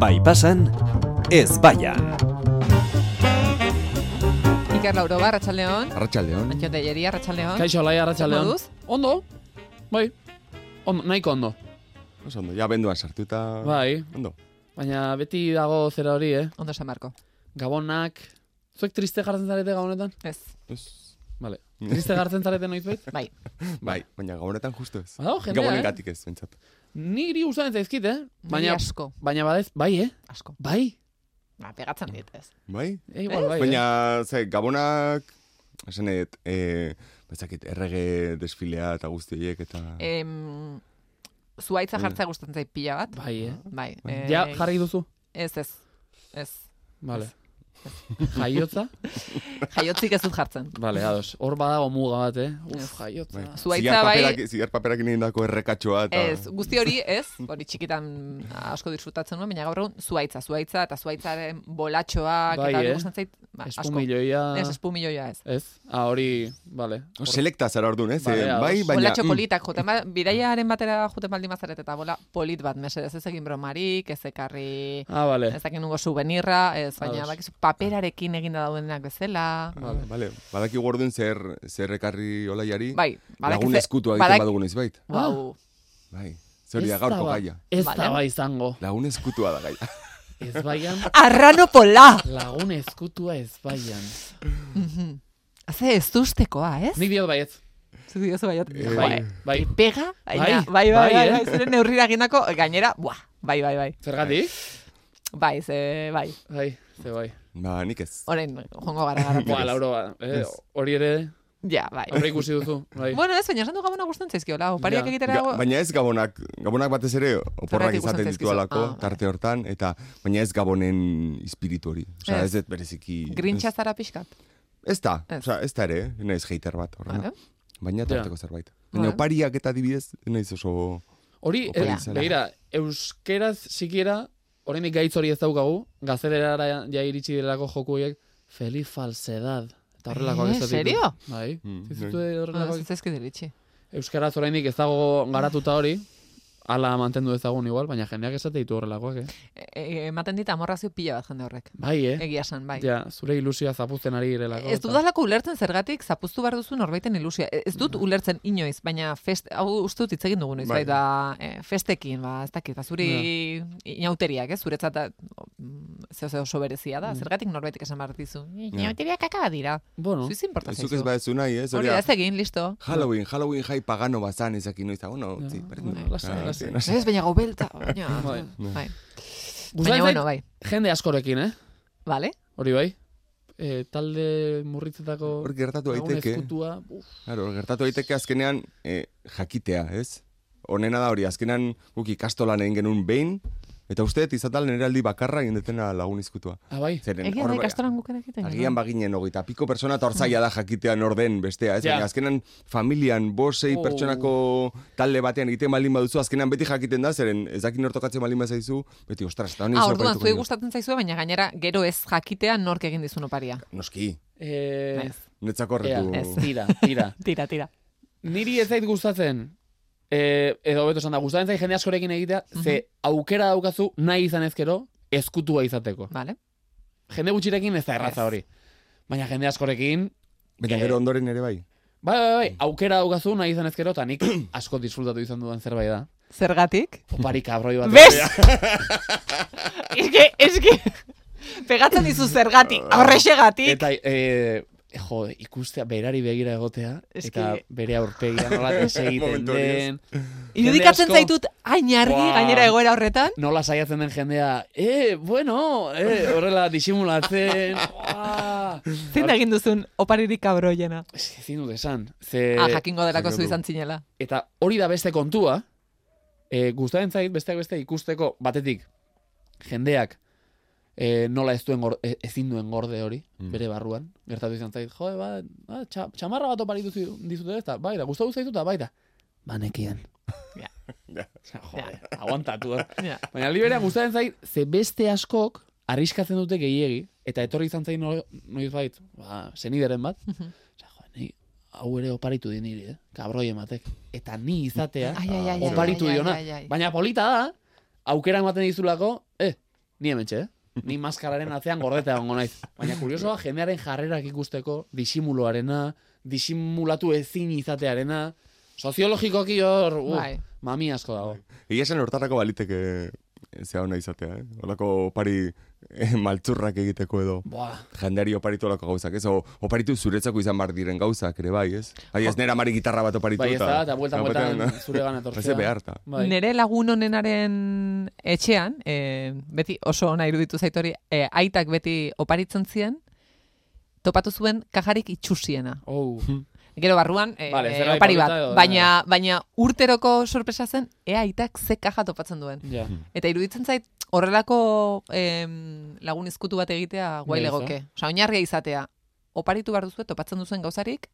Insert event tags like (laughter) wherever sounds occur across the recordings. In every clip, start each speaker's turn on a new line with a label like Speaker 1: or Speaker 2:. Speaker 1: Bai pasan, ez baian.
Speaker 2: Iker Lauro, ba, Arratxaldeon.
Speaker 3: Arratxaldeon.
Speaker 2: Antxo Teieri, Arratxaldeon.
Speaker 4: Kaixo, lai,
Speaker 2: Zer
Speaker 4: arratxaldeon.
Speaker 2: moduz?
Speaker 4: Ondo? Bai. Ondo, nahiko ondo.
Speaker 3: Oso ondo, ja benduan sartuta.
Speaker 2: Ba.
Speaker 4: Bai.
Speaker 3: Ah, Ondo.
Speaker 4: Baina beti dago zera hori, eh?
Speaker 2: Ondo San Marko.
Speaker 4: Gabonak. Zuek triste jartzen zarete gabonetan?
Speaker 2: Ez,
Speaker 3: Ez.
Speaker 4: Vale.
Speaker 3: Mm.
Speaker 4: Triste jartzen zarete
Speaker 3: (laughs)
Speaker 4: noizbait?
Speaker 2: bai.
Speaker 3: Bai, baina gabonetan justu ez.
Speaker 4: Badago jendea,
Speaker 3: Gabonen
Speaker 4: eh?
Speaker 3: gatik ez, bintzat.
Speaker 4: Niri gustatzen zaizkit, eh?
Speaker 2: Baina
Speaker 4: Baina,
Speaker 2: asko,
Speaker 4: baina badez, bai, eh?
Speaker 2: asko.
Speaker 4: Bai.
Speaker 2: Ba, pegatzen dit, ez.
Speaker 3: Bai?
Speaker 4: E, igual, bai,
Speaker 3: Baina, ze, gabonak, esanet, e, bezakit, errege desfilea eta guzti horiek eta...
Speaker 2: Eh, Em, zuaitza jartzea gustatzen zait pila
Speaker 4: eh?
Speaker 2: bat.
Speaker 4: Bai, eh?
Speaker 2: Bai. eh,
Speaker 4: Ja, jarri duzu.
Speaker 2: Ez, ez. Ez. (laughs)
Speaker 4: Vale. Jaiotza?
Speaker 2: Jaiotzik ez dut jartzen.
Speaker 4: Vale, ados. Hor badago muga bat, eh? Uf,
Speaker 2: Ez.
Speaker 4: jaiotza.
Speaker 3: Bai.
Speaker 2: Zuhaitza
Speaker 3: Zigar
Speaker 2: bai-
Speaker 3: paperak- Zigar paperak nien dako errekatxoa
Speaker 4: Ah.
Speaker 3: eta...
Speaker 2: Ez, guzti hori ez, hori txikitan asko disfrutatzen nuen, baina gaur egun zuaitza, zuaitza eta zuaitzaren bolatxoa,
Speaker 4: Bai,
Speaker 2: eta hori
Speaker 4: eh?
Speaker 2: gustatzen zait, ba, asko.
Speaker 4: Espumilloia...
Speaker 2: Ez, espumilloia ez.
Speaker 4: Ez? Ah, hori, vale.
Speaker 3: O, Oh, selekta zara orduan, ez?
Speaker 4: Bai,
Speaker 3: Eh,
Speaker 4: ados.
Speaker 3: bai, baina...
Speaker 2: Bolatxo politak, joten ba, bidaiaren batera joten baldin bazaret eta bola polit bat, mesedez, ez egin bromarik, ez ekarri...
Speaker 4: Ah, vale.
Speaker 2: Ez dakit nungo souvenirra, ez, baina
Speaker 4: Ados.
Speaker 2: bakizu paperarekin eginda daudenak bezala.
Speaker 3: Ah, Vale, badaki gorduen zer, zer ekarri olaiari,
Speaker 2: Bai, badakizu-
Speaker 3: lagun eskutua egiten
Speaker 2: badak-
Speaker 3: badugu noizbait.
Speaker 2: Guau,
Speaker 3: Bai, zer hori da
Speaker 4: Ez
Speaker 3: gaurko
Speaker 4: daba-
Speaker 3: gaia.
Speaker 4: Ez
Speaker 2: Vale.
Speaker 4: daba izango.
Speaker 3: Lagun eskutua da gaia.
Speaker 4: Ez baian,
Speaker 2: Arrano pola!
Speaker 4: lagun ezkutua ez baian.
Speaker 2: Haze ez duztekoa, ez?
Speaker 4: Nik diot baiet.
Speaker 2: Zu diozu baiot.
Speaker 3: Eh,
Speaker 2: Jo,
Speaker 4: Bai,
Speaker 2: eh,
Speaker 4: bai.
Speaker 2: Pega, baina, bai, bai,
Speaker 4: bai,
Speaker 2: bai,
Speaker 4: eh?
Speaker 2: bai, zure neurrira egindako, gainera, buah, bai, bai, bai.
Speaker 4: Zergatik?
Speaker 2: Bai, ze, bai.
Speaker 4: Bai, ze bai.
Speaker 3: Ba, nik ez.
Speaker 2: Orain, jongo gara
Speaker 3: (laughs)
Speaker 2: garatu.
Speaker 4: Boa, Lauro, ba, eh, hori ere
Speaker 2: Ja, bai.
Speaker 4: aurre ikusi duzu. Bai.
Speaker 2: Bueno, ez, baina esan du gabona gustatzen zaizkiola, opariak
Speaker 4: Ja.
Speaker 2: egitera
Speaker 3: Ga, baina ez gabonak, gabonak batez ere oporrak
Speaker 2: Zergatik
Speaker 3: izaten
Speaker 2: gustatzen
Speaker 3: ditu alako,
Speaker 2: zaizkizu? Ah,
Speaker 3: tarte hortan, eta baina ez gabonen espiritu hori. Osea,
Speaker 2: Ez.
Speaker 3: ez dut bereziki...
Speaker 2: grintxa zara pixkat.
Speaker 3: Ez, ez da,
Speaker 2: Ez.
Speaker 3: osea, ez da ere, eh? naiz hater bat, horrena.
Speaker 2: Vale.
Speaker 3: Baina tarteko zerbait. Baina
Speaker 2: Vale.
Speaker 3: opariak eta adibidez, naiz oso...
Speaker 4: Hori,
Speaker 3: Opa,
Speaker 4: eh,
Speaker 3: izena.
Speaker 4: begira, euskeraz sikiera, oraindik gaitz hori ez daukagu, gaztelerara ja iritsi direlako joku horiek, Feliz falsedad. Eta horrelakoak
Speaker 2: Eh,
Speaker 4: ez dut ditu.
Speaker 2: serio?
Speaker 4: Bai.
Speaker 3: Mm,
Speaker 4: Zizute
Speaker 2: Ah,
Speaker 4: horrelakoak.
Speaker 2: Zitzaizkit iritsi.
Speaker 4: Euskaraz oraindik ez dago garatuta hori, ala mantendu ezagun igual, baina jendeak esate ditu horrelakoak, eh?
Speaker 2: E- e- Ematen dit amorrazio pila bat jende horrek.
Speaker 4: Bai, eh?
Speaker 2: Egia san, bai.
Speaker 4: Ja, zure ilusioa zapuzten ari direlako.
Speaker 2: Ez
Speaker 4: eta-
Speaker 2: dudalako ulertzen zergatik zapuztu behar duzu norbaiten ilusia. E- Ez dut ulertzen inoiz, baina fest, hau uste dut hitz egin dugu noiz, bai,
Speaker 3: Bai.
Speaker 2: ba, e, festekin, ba, ez dakit, ba, zuri inauteriak, ez, zuretzat da, mm, zeo zeo oso berezia da, zergatik norbaitek esan behar dizu, inauteriak kakaba dira,
Speaker 4: Bueno,
Speaker 2: zuiz importa
Speaker 3: Zuk
Speaker 2: zaizu.
Speaker 3: ez bai, badezu nahi, ez?
Speaker 2: Hori
Speaker 3: Hori
Speaker 2: da, ez egin, listo.
Speaker 3: Halloween, Halloween jai pagano bazan ezakin noiz, ah, bueno, utzi, berdin.
Speaker 4: bueno, bai, lasai,
Speaker 3: Ah,
Speaker 4: lasai.
Speaker 3: utzi,
Speaker 2: Ez, baina gaubelta, baina,
Speaker 4: Bai.
Speaker 2: bai.
Speaker 4: gustatzen
Speaker 2: Baina,
Speaker 4: zait
Speaker 2: bueno, bai,
Speaker 4: jende askorekin, eh?
Speaker 2: vale?
Speaker 4: Hori bai. E, talde murritzetako
Speaker 3: Hor gertatu
Speaker 4: lagun
Speaker 3: daiteke.
Speaker 4: ezkutua. Uf,
Speaker 3: Claro, gertatu daiteke azkenean eh, jakitea, ez? Honena da hori, azkenean guk ikastolan egin genuen behin, eta uste dut izan da nire aldi bakarra egin detena lagun izkutua.
Speaker 4: ah, bai.
Speaker 3: Zeren,
Speaker 2: Egia
Speaker 3: hor
Speaker 2: da
Speaker 3: ba-
Speaker 2: ikastolan gukera egiten.
Speaker 3: Agian
Speaker 2: genuen.
Speaker 3: baginen hogeita piko pertsona eta hortzaia da jakitea nor den bestea, ez?
Speaker 4: Ja.
Speaker 3: Baina azkenan familian bosei
Speaker 4: Oh.
Speaker 3: pertsonako talde batean egiten balin baduzu, azkenan beti jakiten da, zeren ez dakin hortokatzen balin bazaizu, beti, ostras, eta honi
Speaker 2: Ah,
Speaker 3: zorparituko
Speaker 2: orduan, zuei
Speaker 3: nion.
Speaker 2: gustatzen zaizue, baina gainera gero ez jakitea nork egin dizun oparia. Bai.
Speaker 3: Noski,
Speaker 4: E,
Speaker 2: Ez.
Speaker 3: netzako
Speaker 4: ea,
Speaker 3: horretu.
Speaker 2: Ez.
Speaker 4: tira, tira.
Speaker 2: Eh, Tira, tira.
Speaker 4: Niri ez zait gustatzen, e, edo beto esan da, gustatzen zait jende askorekin egitea, ze aukera daukazu nahi izan ezkero, ezkutua izateko.
Speaker 2: Vale?
Speaker 4: Jende gutxirekin ez da erraza
Speaker 2: Ez.
Speaker 4: hori. Baina jende askorekin,
Speaker 3: Baina gero ondoren ere bai.
Speaker 4: bai, bai, bai, aukera daukazu nahi izan ezkero, eta nik (clears throat) asko disfrutatu izan dudan zerbait da.
Speaker 2: Zergatik?
Speaker 4: Opari kabroi bat.
Speaker 2: Bez? (laughs) eske, eske, pegatzen dizu zergatik, horrexegatik.
Speaker 4: Eta, e, jo, ikustea, berari begira egotea,
Speaker 2: Eske-
Speaker 4: eta bere aurpegia nola desegiten
Speaker 3: Momentu hori ez.
Speaker 4: den,
Speaker 2: Irudikatzen
Speaker 4: jende asko-
Speaker 2: zaitut hain argi
Speaker 4: Buah.
Speaker 2: gainera egoera horretan.
Speaker 4: nola saiatzen den jendea, e, bueno, e, horrela disimulatzen, uah.
Speaker 2: Zein egin duzun oparirik kabroiena.
Speaker 4: Eske, ezin dut esan, ze,
Speaker 2: ah, jakingo delako
Speaker 3: jakingo
Speaker 2: zu
Speaker 3: du.
Speaker 2: izan zinela.
Speaker 4: eta hori da beste kontua, e, gustatzen zait, besteak beste ikusteko, batetik, jendeak, e, nola ez duen gor- e- ezin duen gorde hori, bere barruan, gertatu izan zait, jo, ba, ba, txa, txamarra bat opari duzu- dizute ez, eta bai da, gustatu zaitu eta bai da, banekien.
Speaker 2: Ja.
Speaker 4: (laughs)
Speaker 3: Ja.
Speaker 4: Osea, Jode, aguantatu. eh.
Speaker 2: Ja.
Speaker 4: Baina libera gustatzen zait, ze beste askok arriskatzen dute gehiegi, eta etorri izan zain no, noiz bait, ba, senideren bat,
Speaker 2: Mhm.
Speaker 4: Osea, jo, ni, hau ere oparitu di niri, eh? kabroi ematek. Eta ni izatea,
Speaker 2: Ai, ai, ai, ai,
Speaker 4: oparitu
Speaker 2: ai, ai,
Speaker 4: diona.
Speaker 2: ai, ai.
Speaker 4: Baina polita da, aukera ematen dizulako, eh, Ni hemen eh? Ni maskararen atzean gordeta egongo naiz. Baina kuriosoa, jendearen jarrerak ikusteko, disimuloarena, disimulatu ezin izatearena, soziologikoki hor, uh,
Speaker 2: Bai.
Speaker 4: mami asko dago.
Speaker 3: Egia esan hortarako baliteke eh, zea hona izatea, eh? Olako opari eh, maltzurrak egiteko edo.
Speaker 4: Boa,
Speaker 3: Jendeari oparitu olako gauzak, ez? O, oparitu zuretzako izan bar diren gauzak, ere bai, ez? Ai, ez nera mari gitarra bat oparitu
Speaker 4: bai ez da, eta bueltan bueltan
Speaker 3: batean-
Speaker 4: zure gana tortzea.
Speaker 3: Haize behar, ta.
Speaker 4: Bai.
Speaker 2: Nere lagun honenaren etxean, e, beti oso ona iruditu zait hori, e, aitak beti oparitzen ziren, topatu zuen kajarik itxusiena.
Speaker 4: Oh,
Speaker 2: Gero barruan, e,
Speaker 4: Vale, zerbait
Speaker 2: opari bat,
Speaker 4: polita edo-
Speaker 2: baina, baina urteroko sorpresa zen, ea aitak ze kaja topatzen duen.
Speaker 4: ja.
Speaker 2: Eta iruditzen zait, horrelako em, lagun izkutu bat egitea guai
Speaker 4: Bai, ez da?
Speaker 2: legoke. Osa, oinarria izatea, oparitu behar duzu topatzen duzuen gauzarik,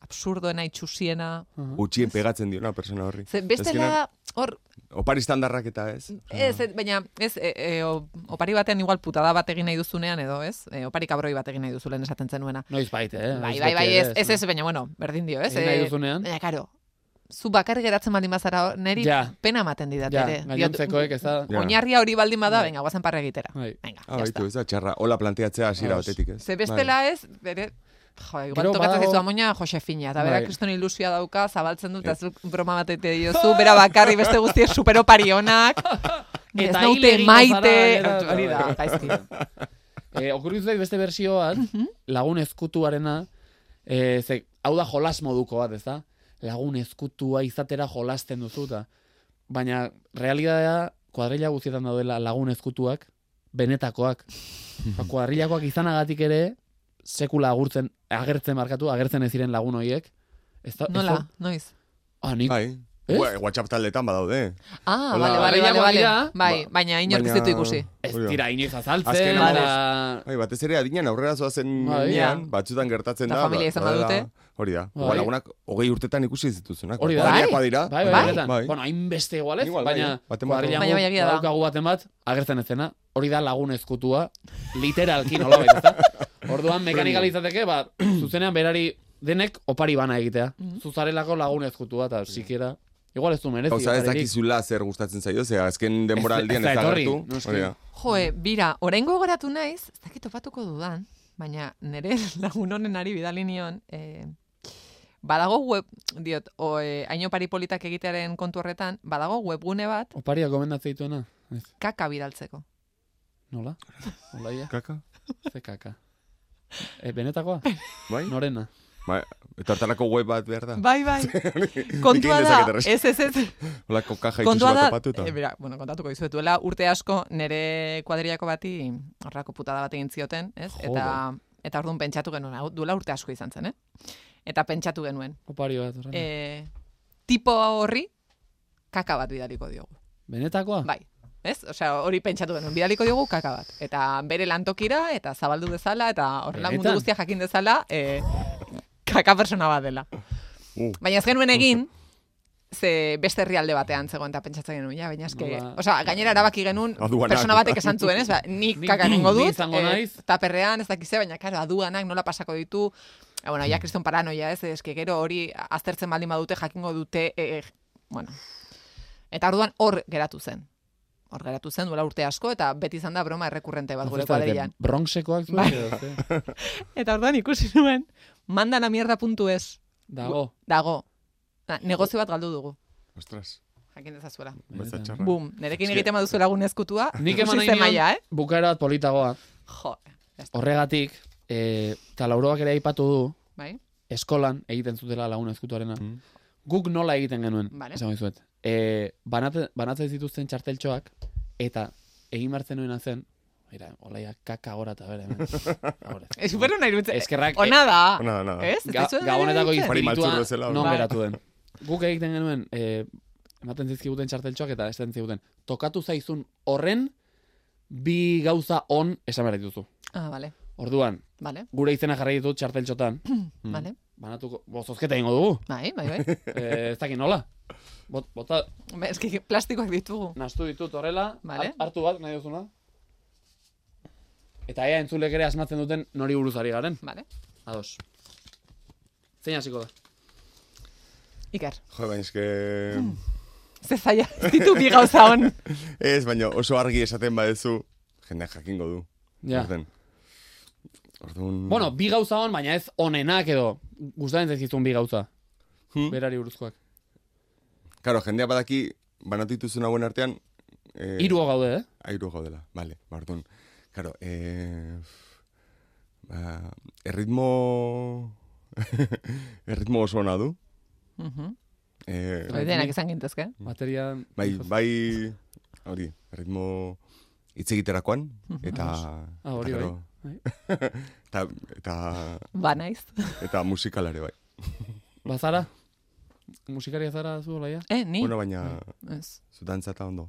Speaker 2: absurdoena, itxusiena,
Speaker 3: Utxien pegatzen diona persona horri.
Speaker 2: Ze bestela, hor,
Speaker 3: Opari standarrak eta ez.
Speaker 2: Ez, ez, baina, ez, e, e, o- opari batean igual putada bat egin nahi duzunean, edo ez? E, opari kabroi bat egin nahi duzu lehen esaten zenuena.
Speaker 4: Noiz baita, eh?
Speaker 2: bai,
Speaker 4: Noiz
Speaker 2: bai,
Speaker 4: beti
Speaker 2: bai,
Speaker 4: ere,
Speaker 2: ez, ez, ez, baina, bueno, berdin dio, ez?
Speaker 4: Egin nahi
Speaker 2: Eh,
Speaker 4: duzunean.
Speaker 2: Baina, karo, zu bakarrik geratzen baldin bazara, hor, neri
Speaker 4: Ja.
Speaker 2: pena ematen didat,
Speaker 4: Ja,
Speaker 2: ere. Diot,
Speaker 4: gainontzekoek ez da.
Speaker 3: Ja.
Speaker 2: Oinarria hori baldin bada,
Speaker 4: Bai.
Speaker 2: venga, guazen parra egitera.
Speaker 4: Bai.
Speaker 2: Venga,
Speaker 3: Ah,
Speaker 2: ya
Speaker 3: baitu,
Speaker 2: está.
Speaker 3: ez da, txarra. Hola planteatzea hasiera
Speaker 4: Ados.
Speaker 3: batetik, ez? Bai.
Speaker 2: Ze bestela ez, bere, jo, igual
Speaker 4: Gero
Speaker 2: tokatzen
Speaker 4: badago-
Speaker 2: zaizu amoina Josefina, eta bera
Speaker 4: Bai.
Speaker 2: kriston ilusioa dauka, zabaltzen
Speaker 3: Eh.
Speaker 2: dut, eta zuk broma bat ete diozu, bera bakarri beste guztiek superopari
Speaker 4: (laughs)
Speaker 2: honak, ez
Speaker 4: Eta hil
Speaker 2: naute
Speaker 4: egingo
Speaker 2: maite,
Speaker 4: zara, gero-
Speaker 2: hori da, gaizki.
Speaker 4: E, okurritu zait beste bersioan, lagun ezkutuarena, e, ze, hau da jolas moduko bat, ez da? Lagun ezkutua izatera jolasten duzu, eta baina realidadea kuadrilla guztietan daudela lagun ezkutuak, benetakoak. Ba, kuadrillakoak izanagatik ere, sekula agurtzen, agertzen markatu, agertzen ez ziren lagun hoiek. Ez da, ez
Speaker 2: Nola,
Speaker 4: da-
Speaker 2: noiz.
Speaker 4: ah, nik,
Speaker 3: Bai.
Speaker 4: Ez?
Speaker 3: Ua- WhatsApp taldetan badaude.
Speaker 2: Ah,
Speaker 3: Hola.
Speaker 2: bale, bale, bale,
Speaker 4: Gehiago
Speaker 2: bale.
Speaker 4: dira,
Speaker 2: Bai,
Speaker 3: ba-
Speaker 2: baina inork ez
Speaker 3: baina-
Speaker 2: ditu ikusi.
Speaker 4: ez
Speaker 3: Hori da.
Speaker 4: dira inoiz azaltzen,
Speaker 3: Azken
Speaker 4: eta-
Speaker 3: Bai, batez ere adinan aurrera zoazen
Speaker 4: Bai.
Speaker 3: nean,
Speaker 2: Ja.
Speaker 3: batzutan gertatzen
Speaker 2: Eta
Speaker 3: da. ba,
Speaker 2: familia izan
Speaker 3: badela-
Speaker 2: badute.
Speaker 3: Hori da.
Speaker 4: Bai.
Speaker 3: Igual lagunak hogei urtetan ikusi zituzunak.
Speaker 4: Hori da.
Speaker 3: Kuadrillakoa
Speaker 2: Bai.
Speaker 3: dira.
Speaker 4: Bai, bai,
Speaker 2: Bai.
Speaker 4: benetan.
Speaker 3: Bai.
Speaker 4: Bueno, hainbeste igual ez,
Speaker 3: Igual, bai,
Speaker 4: baina
Speaker 3: eh. Baten
Speaker 2: bat.
Speaker 4: kuadrilla
Speaker 2: Baina, baina, egia da.
Speaker 4: badaukagu baten bat, agertzen ezena, hori da lagun ezkutua, literalki nola baita.
Speaker 3: (laughs)
Speaker 4: Orduan mekanikalizateke, ba, zuzenean berari denek opari bana egitea.
Speaker 2: Mm-hmm.
Speaker 4: Zuzarelako lagun ezkutua, eta sikiera, igual ez du merezi.
Speaker 3: Gauza ez
Speaker 4: oparirik.
Speaker 3: dakizula zer gustatzen zaio, ze azken denboraldian
Speaker 4: Ez-
Speaker 3: ez
Speaker 4: ez da
Speaker 3: da
Speaker 4: etorri,
Speaker 3: gertu.
Speaker 4: noski.
Speaker 3: Hori da.
Speaker 2: Joe, eh, bira, orain gogoratu naiz, ez dakit topatuko dudan, baina nire (laughs) lagun honen ari bidali nion, eh, badago web, diot, o, eh, haino paripolitak egitearen kontu horretan, badago webgune bat
Speaker 4: Oparia gomendatzen dituena? Ez,
Speaker 2: kaka bidaltzeko.
Speaker 4: nola? Nola ia?
Speaker 3: Kaka?
Speaker 4: Ze kaka. E, benetakoa?
Speaker 3: Bai?
Speaker 4: Norena?
Speaker 3: Bai, Eta hortarako web bat behar
Speaker 4: Ba,
Speaker 3: da.
Speaker 2: Bai, (laughs) bai, kontua
Speaker 3: Ekin
Speaker 2: da,
Speaker 3: dezaket
Speaker 4: eh,
Speaker 3: errez.
Speaker 2: ez, ez, ez,
Speaker 3: Olako kaja itxusu
Speaker 2: kontua
Speaker 3: bat
Speaker 2: da,
Speaker 3: topatu eta.
Speaker 2: eh, bera, bueno, kontatuko dizuet, duela urte asko nire kuadriako bati horrako putada bat egin zioten, ez?
Speaker 4: Joder.
Speaker 2: Eta, eta orduan pentsatu genuen, hau duela urte asko izan zen, eh? Eta pentsatu genuen,
Speaker 4: Opari bat, horrena.
Speaker 2: e, tipo horri kaka bat bidaliko diogu.
Speaker 4: Benetakoa?
Speaker 2: Bai. Ez? Osea, hori pentsatu genuen, bidaliko diogu kaka bat. Eta bere lantokira, eta zabaldu dezala, eta horrela mundu
Speaker 4: Benetan?
Speaker 2: guztia jakin dezala, e, kaka persona bat dela.
Speaker 3: Uh.
Speaker 2: Baina ez genuen egin, ze beste herrialde batean zegoen eta pentsatzen genuen, ja, baina eske,
Speaker 4: Nola-
Speaker 2: osea, gainera erabaki genuen
Speaker 3: Aduanak.
Speaker 2: persona batek esan zuen, ez, ba, ni
Speaker 4: Ni-
Speaker 2: kaka nengo
Speaker 4: ni
Speaker 2: dut, eh,
Speaker 4: izango naiz.
Speaker 2: taperrean, ez dakize, baina, karo, aduanak nola pasako ditu, Ah, bueno, ja, kriston paranoia, ez, eske gero hori aztertzen baldin badute, jakingo dute, e, e, bueno. Eta orduan hor geratu zen. Hor geratu zen duela urte asko, eta beti izan da broma errekurrente bat gure
Speaker 4: Ez dakit,
Speaker 2: kuadrilan.
Speaker 4: Bronxekoak zuen,
Speaker 2: Bai.
Speaker 4: edo, ze?
Speaker 2: Eta orduan ikusi nuen, mandanamierda.es
Speaker 4: Dago.
Speaker 2: dago. Na, negozio bat galdu dugu,
Speaker 3: Ostras,
Speaker 2: jakin dezazuela.
Speaker 3: beza
Speaker 4: Benetan.
Speaker 3: txarra.
Speaker 2: Bum, nerekin
Speaker 3: Eske-
Speaker 2: egiten baduzu lagun ezkutua,
Speaker 4: Bai. Nik eman
Speaker 2: ikusi
Speaker 4: nahi
Speaker 2: ze
Speaker 4: nion
Speaker 2: maila, eh?
Speaker 4: bukaera bat politagoa.
Speaker 2: Jo, ya está,
Speaker 4: Horregatik, e, eta lauroak ere aipatu du,
Speaker 2: bai?
Speaker 4: eskolan egiten zutela laguna ezkutuarena.
Speaker 3: Mm.
Speaker 4: Guk nola egiten genuen,
Speaker 2: Vale.
Speaker 4: esan dizuet. E, banate, banatzen zituzten txarteltxoak, eta egin martzen nuena zen, mira, olaia kaka gora eta bere. hemen. Gora.
Speaker 2: (laughs) Ez super ona iruditzen.
Speaker 4: Eskerrak, eh,
Speaker 2: Ona da.
Speaker 4: Ah,
Speaker 3: Ona da, ona da.
Speaker 2: Ez? Ez
Speaker 4: Ga,
Speaker 2: dizuet
Speaker 4: gabonetako
Speaker 2: iruditzen?
Speaker 3: Hori
Speaker 4: espiritua
Speaker 3: maltzur bezala, hori.
Speaker 4: non
Speaker 2: Bai.
Speaker 4: geratu den. Guk egiten genuen, e, ematen zizkiguten txarteltxoak eta esaten ziguten, tokatu zaizun horren, bi gauza on esan behar dituzu.
Speaker 2: Ah, vale,
Speaker 4: Orduan,
Speaker 2: vale,
Speaker 4: gure izena jarri ditut txarteltxotan, Hmm.
Speaker 2: vale.
Speaker 4: (clears throat) banatuko, bozozketa egingo dugu,
Speaker 2: Bai, bai,
Speaker 4: (laughs)
Speaker 2: bai.
Speaker 4: e, ez dakit nola. Bot, bota,
Speaker 2: Ba, Eske plastikoak ditugu.
Speaker 4: nastu ditut horrela,
Speaker 2: Vale.
Speaker 4: har- hartu bat, nahi duzuna. Eta ea entzulek ere asmatzen duten nori buruz ari garen.
Speaker 2: Vale.
Speaker 4: Ados. Zein hasiko da?
Speaker 2: Iker,
Speaker 3: Jo, baina eske...
Speaker 2: ze zaila, ez ditu bi gauza hon.
Speaker 4: (laughs)
Speaker 3: Ez, baina oso argi esaten badezu jende jakingo du.
Speaker 4: Ja.
Speaker 3: Orduan. Orduan-
Speaker 4: Bueno, bi gauza hon, baina ez onenak edo gustatzen zaizkizun bi gauza.
Speaker 3: Hmm.
Speaker 4: Berari buruzkoak.
Speaker 3: Claro, jendea badaki, banatu dituzun hauen artean... Eh,
Speaker 4: Hiru gaude, eh?
Speaker 3: Airu gaudela, bale, bardun. Claro, eh, ba, erritmo... (laughs) erritmo oso ona du.
Speaker 2: Mhm.
Speaker 3: Eh,
Speaker 4: Bai.
Speaker 2: Denak izan gintezke.
Speaker 4: Bateria...
Speaker 3: bai, bai, hori, erritmo hitz egiterakoan, eta...
Speaker 4: Mhm. Ah, hori bai.
Speaker 3: claro, (laughs) Eta, eta,
Speaker 2: Ba, naiz.
Speaker 3: eta musikalare bai.
Speaker 4: Bazara? Musikaria zara zu, laia?
Speaker 2: Eh, ni?
Speaker 3: Bueno, baina
Speaker 2: Ez,
Speaker 3: zu dantza eta ondo.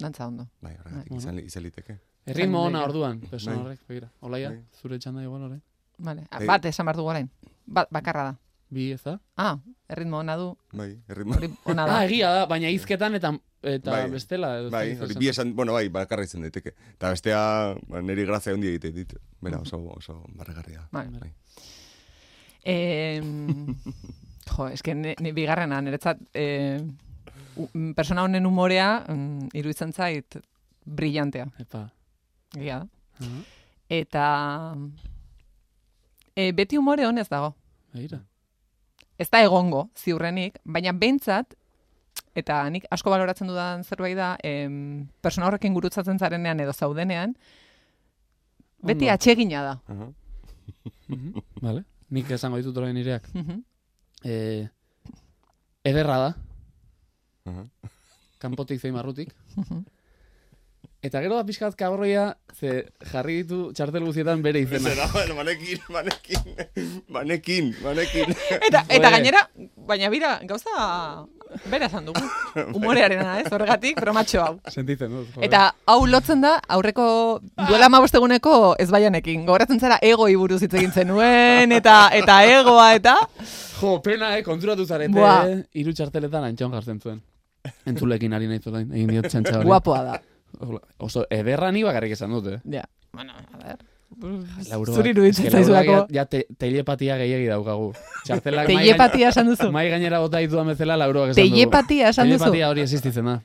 Speaker 2: dantza ondo.
Speaker 3: Bai, horregatik
Speaker 4: Bai.
Speaker 3: izan, izan liteke.
Speaker 4: Erritmo
Speaker 2: Bai,
Speaker 4: ona
Speaker 2: bai.
Speaker 4: orduan, persona
Speaker 3: Bai.
Speaker 4: horrek, begira. Olaia,
Speaker 3: Bai.
Speaker 4: zure txanda igual, orain.
Speaker 2: Vale. Ah,
Speaker 4: Eh.
Speaker 3: Ei.
Speaker 2: Bat esan behar dugu orain. Bat, bakarra da.
Speaker 4: Bi ez da?
Speaker 2: Ah, erritmo ona du,
Speaker 3: Bai, erritmo.
Speaker 2: hori ona
Speaker 4: (laughs)
Speaker 2: da.
Speaker 4: Ah, egia da, baina hizketan eta eta
Speaker 3: Bai.
Speaker 4: bestela. edo
Speaker 3: Bai,
Speaker 4: ez dakit
Speaker 3: hori
Speaker 4: zer
Speaker 3: bi
Speaker 4: esan.
Speaker 3: esan, bueno, bai, bakarra izan daiteke. Eta bestea, ba, niri grazia hundi egite dit. Bera, oso, oso barregarria.
Speaker 2: Bai.
Speaker 3: Bai.
Speaker 2: Eh, jo, eske ni, ni bigarrena, niretzat, eh, u- m, persona honen umorea, mm, iruditzen zait, brillantea,
Speaker 4: Epa.
Speaker 2: egia da.
Speaker 4: Aha,
Speaker 2: Eta eh, beti umore honez dago.
Speaker 3: (laughs)
Speaker 4: Begira.
Speaker 2: Ez da egongo, ziurrenik, baina behintzat, eta nik asko baloratzen dudan zerbait da, em, persona horrekin gurutzatzen zarenean edo zaudenean, beti
Speaker 4: Ondo.
Speaker 2: atsegina da.
Speaker 3: Aha.
Speaker 4: Mhm. Vale. Nik esango ditut orain nireak.
Speaker 2: Mhm.
Speaker 4: Eh, ederra da,
Speaker 3: Aha.
Speaker 4: kanpotik zein
Speaker 3: (laughs)
Speaker 4: marrutik.
Speaker 2: Mhm.
Speaker 4: Eta gero da pixkat kabroia, ze jarri ditu txartel guztietan bere
Speaker 3: (laughs)
Speaker 4: izena.
Speaker 3: Zera, bueno, banekin, banekin, banekin, banekin.
Speaker 2: Eta,
Speaker 4: Joder.
Speaker 2: eta gainera, baina bira, gauza bera esan dugu. Umorearena, ez, horregatik, bromatxo hau.
Speaker 4: Sentitzen dut. joder.
Speaker 2: Eta hau lotzen da, aurreko duela amabosteguneko ez baianekin. Gogoratzen zara, ego buruz hitz egin zenuen, eta, eta egoa, eta...
Speaker 4: Jo, pena, eh, konturatu zarete.
Speaker 2: Buah.
Speaker 4: eh, Hiru txarteletan antxon jartzen zuen. Entzulekin ari nahi zuen, egin diot txantxa hori.
Speaker 2: Guapoa da.
Speaker 4: Hola, Oso, ederra ni bakarrik esan dut, eh.
Speaker 2: Ja. Bueno, a ver.
Speaker 4: Lauro,
Speaker 2: Zuri iruditzen zaizulako.
Speaker 4: Ja, ja te, telepatia gehiagi daukagu. Txartelak mai gain-
Speaker 2: Teiepatia esan duzu.
Speaker 4: Mai gainera bota dituan bezala lauroak esan du.
Speaker 2: Teiepatia esan duzu.
Speaker 4: Telepatia hori existitzen da.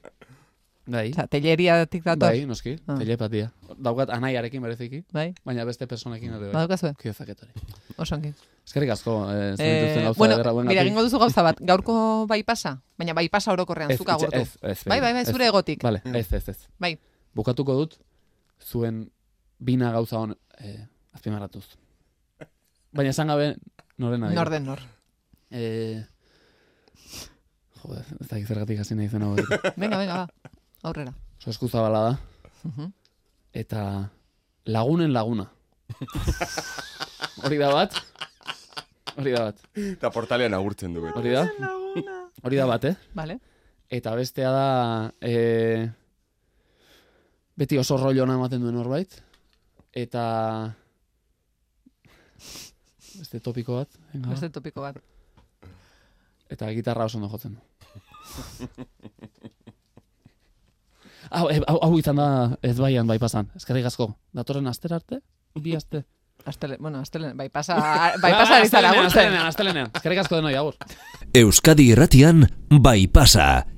Speaker 4: Bai.
Speaker 2: Osa, teieriatik dator.
Speaker 4: Bai, noski.
Speaker 2: Ah.
Speaker 4: Telepatia. Daukat anaiarekin bereziki,
Speaker 2: Bai.
Speaker 4: baina beste personekin ere bai.
Speaker 2: Badukazue,
Speaker 4: Kio zaketori.
Speaker 2: oso ongi.
Speaker 4: Eskerrik asko, eh, zenituzten
Speaker 2: Eh,
Speaker 4: gauza
Speaker 2: bueno,
Speaker 4: ederra
Speaker 2: mira,
Speaker 4: buengatik.
Speaker 2: egingo duzu gauza bat. Gaurko bai pasa, baina bai pasa orokorrean,
Speaker 4: Ez,
Speaker 2: zuka
Speaker 4: itxe-
Speaker 2: gurtu.
Speaker 4: ez, ez,
Speaker 2: Bai, bai, bai,
Speaker 4: ez.
Speaker 2: zure egotik.
Speaker 4: Vale, ez, ez, ez.
Speaker 2: Bai.
Speaker 4: Bukatuko dut, zuen bina gauza hon eh, azpimarratuz. Baina esan gabe, norena. dira.
Speaker 2: Norden nor.
Speaker 4: Eh, joder, ez dakit zergatik hasi nahi zen hau.
Speaker 2: (laughs)
Speaker 4: Oso
Speaker 2: Venga, venga, ba. Aurrera.
Speaker 4: eskuzabala da.
Speaker 2: Mhm.
Speaker 4: Eta lagunen laguna. Hori da bat. Hori da bat.
Speaker 3: Eta portalean agurtzen du beti.
Speaker 4: Hori da. Hori da bat, eh?
Speaker 2: Vale.
Speaker 4: Eta bestea da... E, beti oso rollo ona ematen duen norbait. Eta... Beste topiko bat. venga.
Speaker 2: Beste topiko bat.
Speaker 4: Eta gitarra oso ondo jotzen du. (laughs) hau, e, hau, hau izan da ez baian bai pasan. Eskerrik asko. Datorren astera arte? Bi aste.
Speaker 2: Astele, bueno, astele, bai pasa, bai
Speaker 4: Ah,
Speaker 2: pasa ari zara
Speaker 4: Astelenean,
Speaker 2: gurtzen.
Speaker 4: astelenean, astelenean. Eskerrik asko denoi, agur.
Speaker 1: Euskadi Irratian Bypassa